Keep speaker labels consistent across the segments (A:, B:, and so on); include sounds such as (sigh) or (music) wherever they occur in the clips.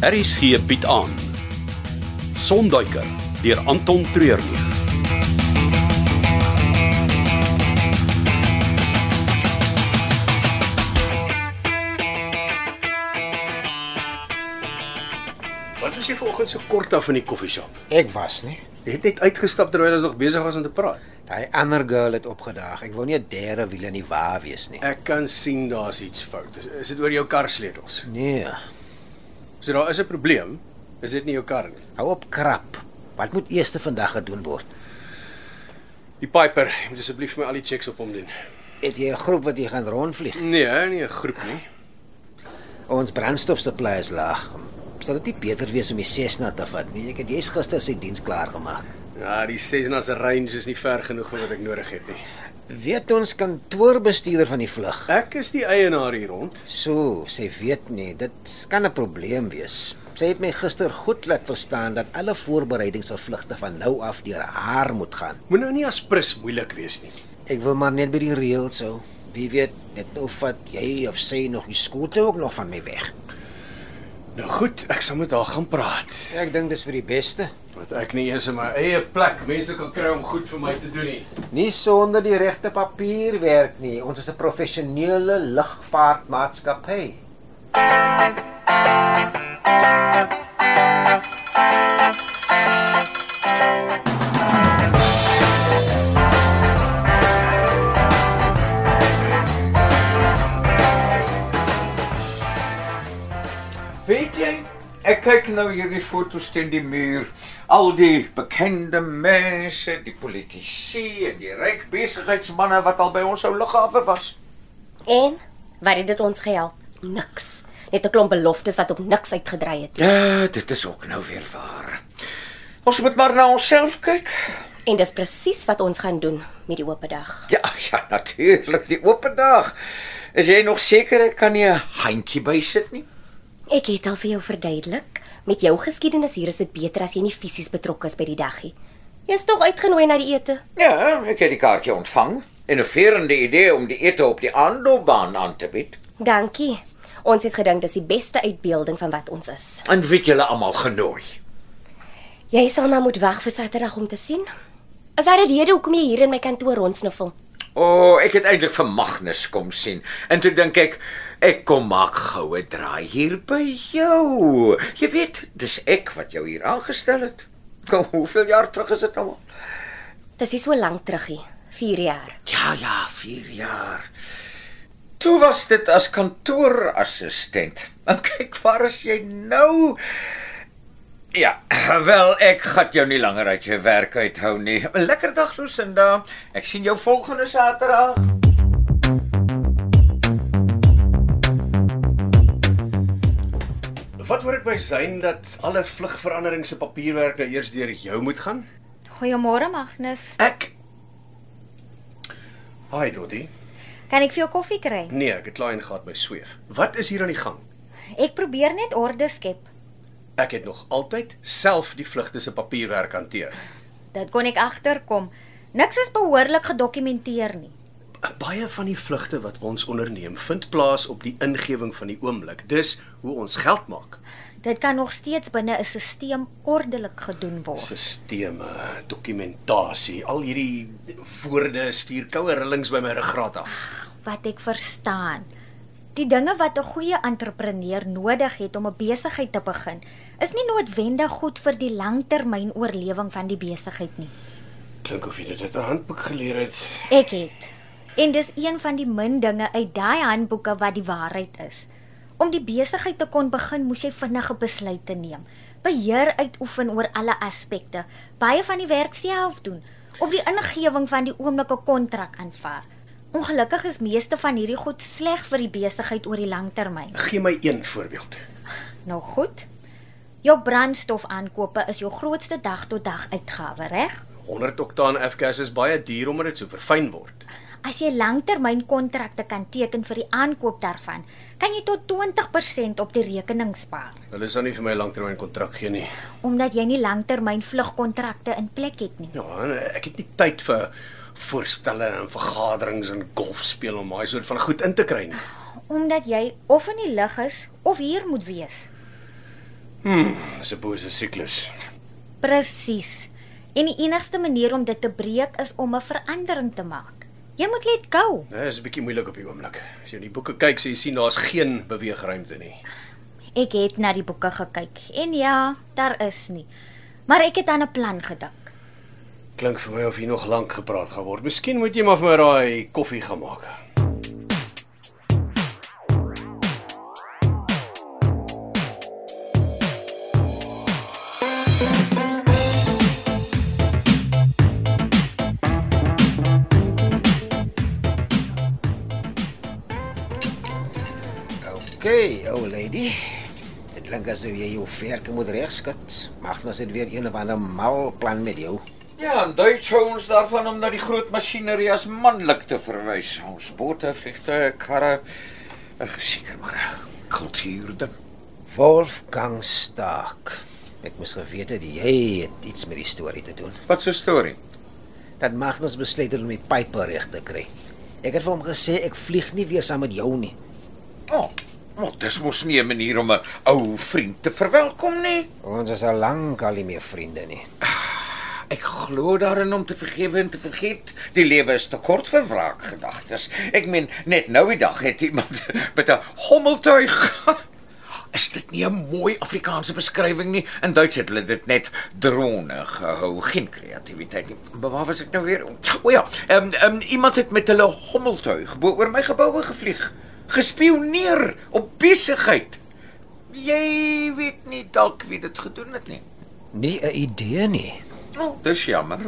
A: Hier is gee Piet aan. Sonduiker deur Anton Treurnig. Wat was jy vanoggend so kort af in die koffieshop?
B: Ek was nie.
A: Jy het net uitgestap terwyl ons nog besig was om te praat.
B: Daai ander girl het opgedaag. Ek wou nie 'n derde wiel in die wa wees nie.
A: Ek kan sien daar's iets fout. Is, is dit oor jou kar sleutels?
B: Nee.
A: So daar is 'n probleem. Is dit nie jou kar nie?
B: Hou op krap. Wat moet eers vandag gedoen word?
A: Die Piper, jy moet asseblief vir my al die checks op hom doen.
B: Het jy 'n groep wat jy gaan rondvlieg?
A: Nee, nie 'n groep nie.
B: Ons brandstofsupply is laag. Sal dit nie beter wees om die Cessna te vat nie? Ek het jous gister sy diens klaar gemaak.
A: Ja, die Cessna se range is nie ver genoeg vir wat ek nodig het nie.
B: Weet ons kantoorbestuurder van die vlug.
A: Ek is die eienaar hier rond.
B: So, sy weet nie. Dit kan 'n probleem wees. Sy het my gister goed laat verstaan dat alle voorbereidings vir vlugte van nou af deur haar moet gaan.
A: Moet nou nie as prins moeilik wees nie.
B: Ek wil maar net by die reëls hou. Wie weet, net nou vat jy of sy nog die skote ook nog van my weg.
A: Nou goed, ek sal met haar gaan praat.
B: Ek dink dis vir die beste.
A: Want ek nie eers in my eie plek mense kan kry om goed vir my te doen nie.
B: Nie sonder die regte papierwerk nie. Ons is 'n professionele lugvaartmaatskappy.
C: Weet jy, ek kyk nou hierdie foto's teen die muur. Al die bekende mense, die politici en die ryk besigheidsmense wat al by ons ou lughawe was.
D: En wat het dit ons gehelp? Niks. Net 'n klomp beloftes wat op niks uitgedrei het.
C: Ja, dit is ook nou weer waar. Ons moet maar na onsself kyk.
D: En dis presies wat ons gaan doen met die oop dag.
C: Ja, ja, natuurlik, die oop dag. Is jy nog seker ek kan nie 'n handjie bysit nie?
D: Ek het al vir jou verduidelik, met jou geskiedenis hier is dit beter as jy nie fisies betrokke is by die daggie. Jy's tog uitgenooi na die ete.
C: Ja, ek het die kaartjie ontvang en 'n verende idee om die ete op die aanloopbaan aan te bied.
D: Dankie. Ons het gedink dis die beste uitbeelding van wat ons is.
C: En weet julle almal genooi.
D: Jy sal maar moet wag vir Saterdag om te sien. Is daar 'n rede hoekom jy hier in my kantoor rondsniffel?
C: O, oh, ek het eintlik vir Magnus kom sien. En toe dink ek, ek kom maak goue draai hier by jou. Jy weet, dis ek wat jou hier aangestel het. Kom, hoeveel jaar terug is dit nou? al?
D: Dis nie so lank teruggie, 4 jaar.
C: Ja, ja, 4 jaar. Toe was dit as kantoorassistent. En kyk, waar is jy nou? Ja, wel ek gat jou nie langer uit jou werk uithou nie. 'n Lekker dag Lusinda. Ek sien jou volgende Saterdag.
A: Wat hoor ek by Zain dat alle vlugverandering se papierwerk nou eers deur jou moet gaan?
E: Goeiemôre Magnus.
A: Ek Hi Dottie.
E: Kan ek vir jou koffie kry?
A: Nee, ek het klaar ingegaan by sweef. Wat is hier aan die gang?
E: Ek probeer net orde skep.
A: Ek het nog altyd self die vlugte se papierwerk hanteer.
E: Dit kon ek agterkom. Niks is behoorlik gedokumenteer nie.
A: Baie van die vlugte wat ons onderneem, vind plaas op die ingewing van die oomblik. Dis hoe ons geld maak.
E: Dit kan nog steeds binne 'n stelsel ordelik gedoen word.
A: Sisteme, dokumentasie, al hierdie woorde stuur koue rillings by my ruggraat af.
E: Wat ek verstaan, die dinge wat 'n goeie entrepreneur nodig het om 'n besigheid te begin, is nie noodwendig goed vir die langtermynoorlewing van die besigheid nie.
A: Klink of jy dit uit 'n handboek geleer het.
E: Ek het. En dis een van die min dinge uit daai handboeke wat die waarheid is. Om die besigheid te kon begin, moes jy vinnige besluite neem. Beheer uitoefen oor alle aspekte. Baie van die werk self doen. Op die ingewing van die oomblik 'n kontrak aanvaar. Ongelukkig is meeste van hierdie goed sleg vir die besigheid oor die lang termyn.
A: Gee my een voorbeeld.
E: Nou goed. Jou brandstofaankope is jou grootste dag tot dag uitgawe, reg?
A: 100 oktaan F-gas is baie duur omdat dit so verfyn word.
E: As jy langtermynkontrakte kan teken vir die aankoop daarvan, kan jy tot 20% op die rekening spaar,
A: Hulle sal nie vir my 'n langtermynkontrak gee nie.
E: omdat jy nie langtermyn vlugkontrakte in plek het nie.
A: Ja, en ek het nie tyd vir voorstelle en vergaderings en golf speel om daai soort van goed in te kry nie.
E: Omdat jy of in die lug is of hier moet wees.
A: Dis 'n bose siklus.
E: Presies. En die enigste manier om dit te breek is om 'n verandering te maak. Jy moet let go.
A: Dit Nee, is 'n bietjie moeilik op die oomblik. As jy in die boeke kyk, sal jy sien daar's geen beweegruimte nie.
E: Ek het na die boeke gekyk en ja, daar is nie. Maar ek het aan 'n plan gedink.
A: Klink vir my of hier nog lank gepraat gaan word. Miskien moet jy maar vir my daai koffie gaan maak.
B: OK, ou lady. Dit klink asof jy jou verke moet regskat. Magnus het weer een of ander mal plan met jou.
C: Ja, en Duits hou ons daarvan om na die groot masjinerie as manlik te verwys. Ons bote, vliegtuie, karre, ag seker maar eh, kultuurde.
B: Wolfgang Stark. Ek moes geweet het jy het iets met die storie te doen.
C: Wat 'n storie.
B: Dat Magnus besluit het om die pype reg te kry. Ek het vir hom gesê ek vlieg nie weer saam met jou nie.
C: O, oh, oh, dis mos nie 'n manier om 'n ou vriend te verwelkom nie.
B: Ons is al lank al nie meer vriende nie.
C: Ek glo daarin om te vergewe en te vergeet. Die lewe is te kort vir wraakgedagtes. Ek meen, net nou die dag het iemand (laughs) met 'n hommeltuig (laughs) Is dit nie 'n mooi Afrikaanse beskrywing nie? In Duits het hulle dit net drone gehou, geen kreatiwiteit nie. Maar waar was ek nou weer? O ja, ehm um, um, iemand het met hulle hommeltuig bo oor my geboue gevlieg, gespioneer op besigheid. Jy weet nie dalk wie dit gedoen het nie.
B: Nie 'n idee nie.
C: Nou, dis jammer.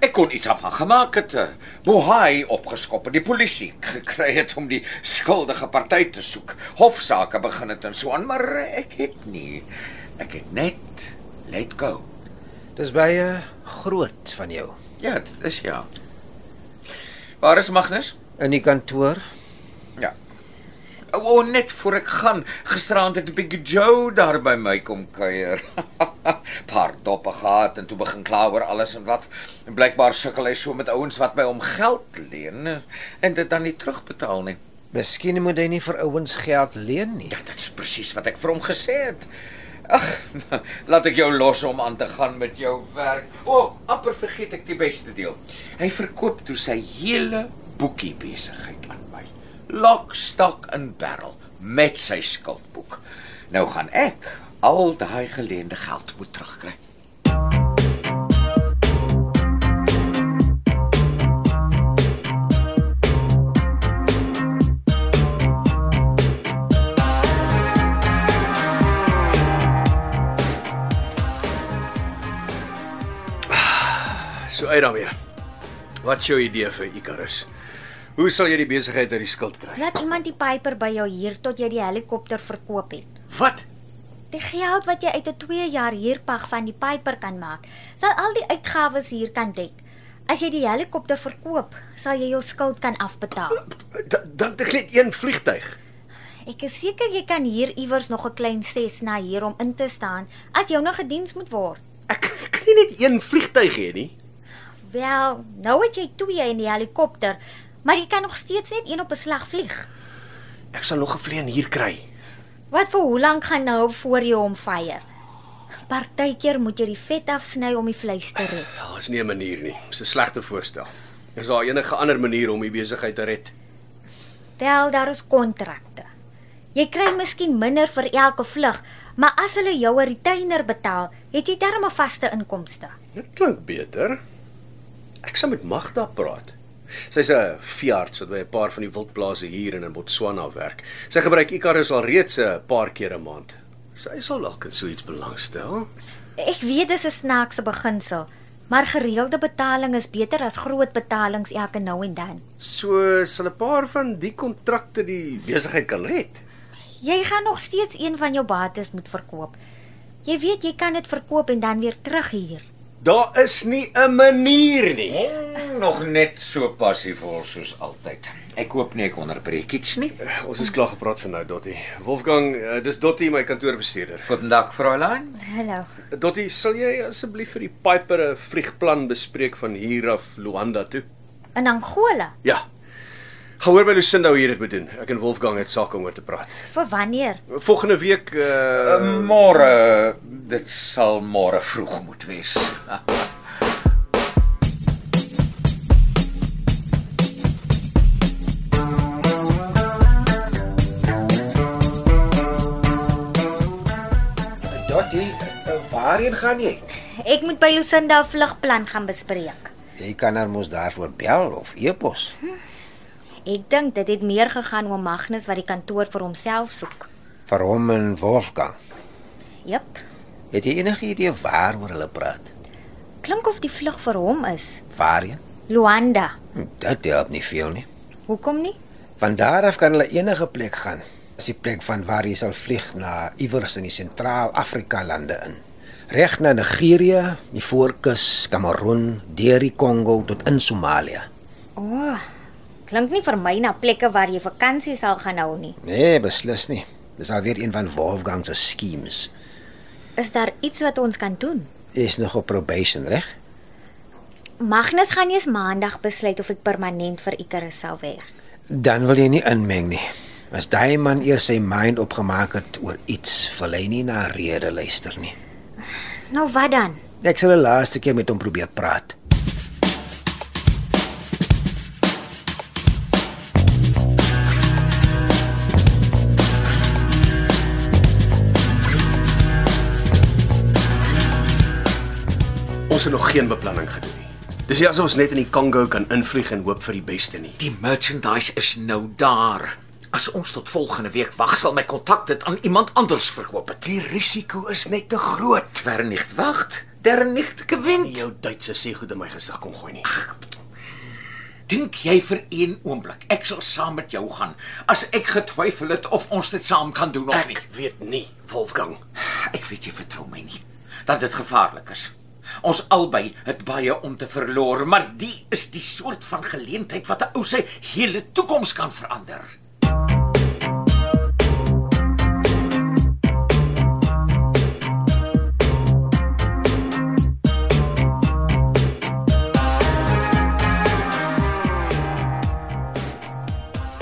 C: Ek kon iets daarvan gemaak het. eh, Bohai opgeskop en die polisie gekry het om die skuldige party te soek. Hofsaake begin het en so aan, maar ek het nie. Ek het net let go.
B: Dis baie groot van jou.
C: Ja, dit is ja. Waar is Magnus?
B: In die kantoor
C: Ja. O, oh, net voor ek gaan, gisteraand het Big Joe daar by my kom kuier. (laughs) Paar doppe gehad en toe begin kla oor alles en wat. En blykbaar sukkel hy so met ouens wat by hom geld leen en dit dan nie terugbetaal nie.
B: Miskien moet hy nie vir ouens geld leen nie.
C: Ja, dit is presies wat ek vir hom gesê het. Ag, (laughs) laat ek jou los om aan te gaan met jou werk. O, oh, amper vergeet ek die beste deel. Hy verkoop toe sy hele boekie besigheid aan my. Lock, stock en barrel met sy skuldboek. Nou gaan ek al daai geleende geld moet terugkry.
A: So uit daarmee. Wat is jou idee vir Icarus? Hoe sal jy die besigheid uit die skuld kry?
E: Laat iemand die piper by jou huur tot jy die helikopter verkoop het.
A: Wat?
E: Die geld wat jy uit 'n 2 jaar huurpag van die piper kan maak, sal al die uitgawes hier kan dek. As jy die helikopter verkoop, sal jy jou skuld kan afbetaal.
A: Da- Dan het ek net een vliegtyg.
E: Ek is seker jy kan hier iewers nog 'n klein ses na hier om in te staan as jou nog gediens moet word.
A: Ek kan nie net een vliegtyg hê nie.
E: Wel, nou het jy twee in die helikopter, maar jy kan nog steeds net een op 'n slag vlieg.
A: Ek sal nog 'n vleen hier kry.
E: Wat vir hoe lank gaan nou voor jy hom vyer? Partykeer moet jy die vet afsny om die vleis te red.
A: Daar is nie 'n manier nie. Dis 'n slegte voorstel. Is daar enige ander manier om die besigheid te red?
E: Wel, daar is kontrakte. Jy kry miskien minder vir elke vlug, maar as hulle jou 'n retainer betaal, het jy darm 'n vaste inkomste.
A: Dit klink beter. Ek sal met Magda praat. Sy's 'n veearts wat by 'n paar van die wildplase hier en in Botswana werk. Sy gebruik Icarus al reeds 'n paar keer 'n maand. Sy sal dalk in so iets belangstel.
E: Ek weet dis 'n snaakse beginsel, maar gereelde betaling is beter as groot betalings elke nou en dan.
A: So sal 'n paar van die kontrakte die besigheid kan red.
E: Jy gaan nog steeds een van jou bates moet verkoop. Jy weet jy kan dit verkoop en dan weer terughuur.
A: Daar is nie 'n manier nie.
C: Mm, nog net so passievol soos altyd. Ek koop nie ek onderbreek iets nie.
A: Ons is klaar gepraat van nou Dotty. Wolfgang, eh, dis Dotty my kantoorbestuurder.
C: Goedendag, Fräulein.
E: Hallo.
A: Dotty, sal jy asseblief vir die Piper 'n vliegplan bespreek van hier af Luanda toe?
E: In Angola.
A: Ja. Gaan hoor by Lucinda hoe jy dit moet doen. Ek en Wolfgang het sake om oor te praat.
E: Vir wanneer?
A: Volgende week uh
C: Ehm, Môre, dit sal môre vroeg moet wees.
B: Dottie, Ja, eh, waarheen gaan jy?
E: Ek moet by Lucinda 'n vlugplan gaan bespreek.
B: Jy kan haar mos daarvoor bel of e-pos.
E: Ek dink dit het meer gegaan oor Magnus wat die kantoor vir homself soek.
B: Vir hom en Wolfgang.
E: Jep.
B: Het jy enige idee waaroor hulle praat?
E: Klink of die vlug vir hom is.
B: Waarheen?
E: Luanda.
B: Hm, Dit help nie veel nie.
E: Hoekom nie?
B: Van daar af kan hulle enige plek gaan. Dis die plek van waar jy sal vlieg na iewers in die Sentraal-Afrika lande in. Reg na Nigerië, die voorkus, Kameroen, deur die Kongo tot in Somalië.
E: O. Oh, klink nie vir my na plekke waar jy vakansie sal gaan hou nie.
B: Nee, beslis nie. Dis alweer een van Wolfgang se schemes.
E: Is daar iets wat ons kan doen?
B: Jy's nog op probation, reg?
E: Magnus gaan eers maandag besluit of ek permanent vir Icarus sal werk.
B: Dan wil jy nie inmeng nie. As daai man eers sy mind opgemaak het oor iets, wil hy nie na rede luister nie.
E: Nou wat dan?
B: Ek sal die laaste keer met hom probeer praat.
A: ons het nog geen beplanning gedoen nie. Dis nie asof ons net in die Kongo kan invlieg en hoop vir die beste nie.
C: Die merchandise is nou daar. As ons tot volgende week wag, sal my kontak dit aan iemand anders verkoop het.
A: Die risiko is net te groot.
C: Wer nie wag, der nie gewen.
A: Nie jou Duitse sê goed in my gesig kom gooi nie.
C: Dink jy vir een oomblik ek sal saam met jou gaan as ek getwyfel het of ons dit saam kan doen of nie?
A: Ek weet nie, Wolfgang.
C: Ek weet jy vertrou my nie dat dit gevaarlik is. Ons albei het baie om te verloor, maar die is die soort van geleentheid wat 'n ou se hele toekoms kan verander.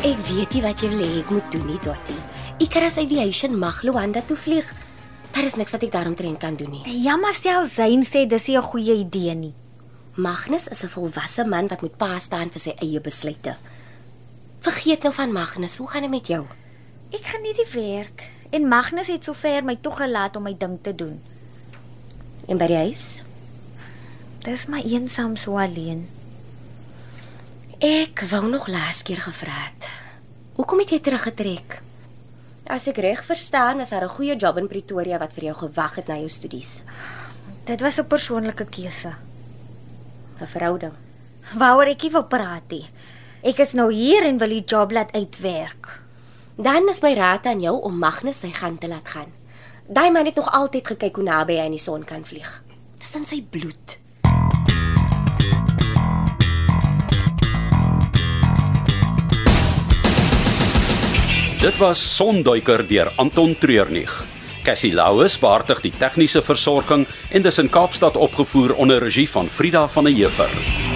D: Ek weet nie wat jy wil hê ek moet doen nie, Dottie. Icarus Aviation mag Luanda toe vlieg. Daar is niks wat ek daaromtrent kan doen nie.
E: Jamma self Zayn sê dis nie 'n goeie idee nie.
D: Magnus is 'n volwasse man wat moet pa staan vir sy eie besluite. Vergeet nou van Magnus. Hoe gaan dit met jou?
E: Ek gaan nie die werk en Magnus het sover my toegelaat om my ding te doen.
D: En by die huis?
E: Dis my eensaam so alleen.
D: Ek wou nog laas keer gevra het. Hoekom het jy teruggetrek? As ek reg verstaan, is daar 'n goeie job in Pretoria wat vir jou gewag het na jou studies.
E: Dit was 'n persoonlike keuse.
D: 'n Verhouding.
E: Waaroor ek nie wil praat nie. Ek is nou hier en wil die job laat uitwerk.
D: Dan is my raad aan jou om Magnus sy gaan te laat gaan. Daai man het nog altyd gekyk hoe naby hy in die son kan vlieg. Dis in sy bloed.
F: Dit was Sonduiker deur Anton Treurnig. Cassie Louws beheerdig die tegniese versorging en dis in Kaapstad opgevoer onder regie van Frida van der Heever.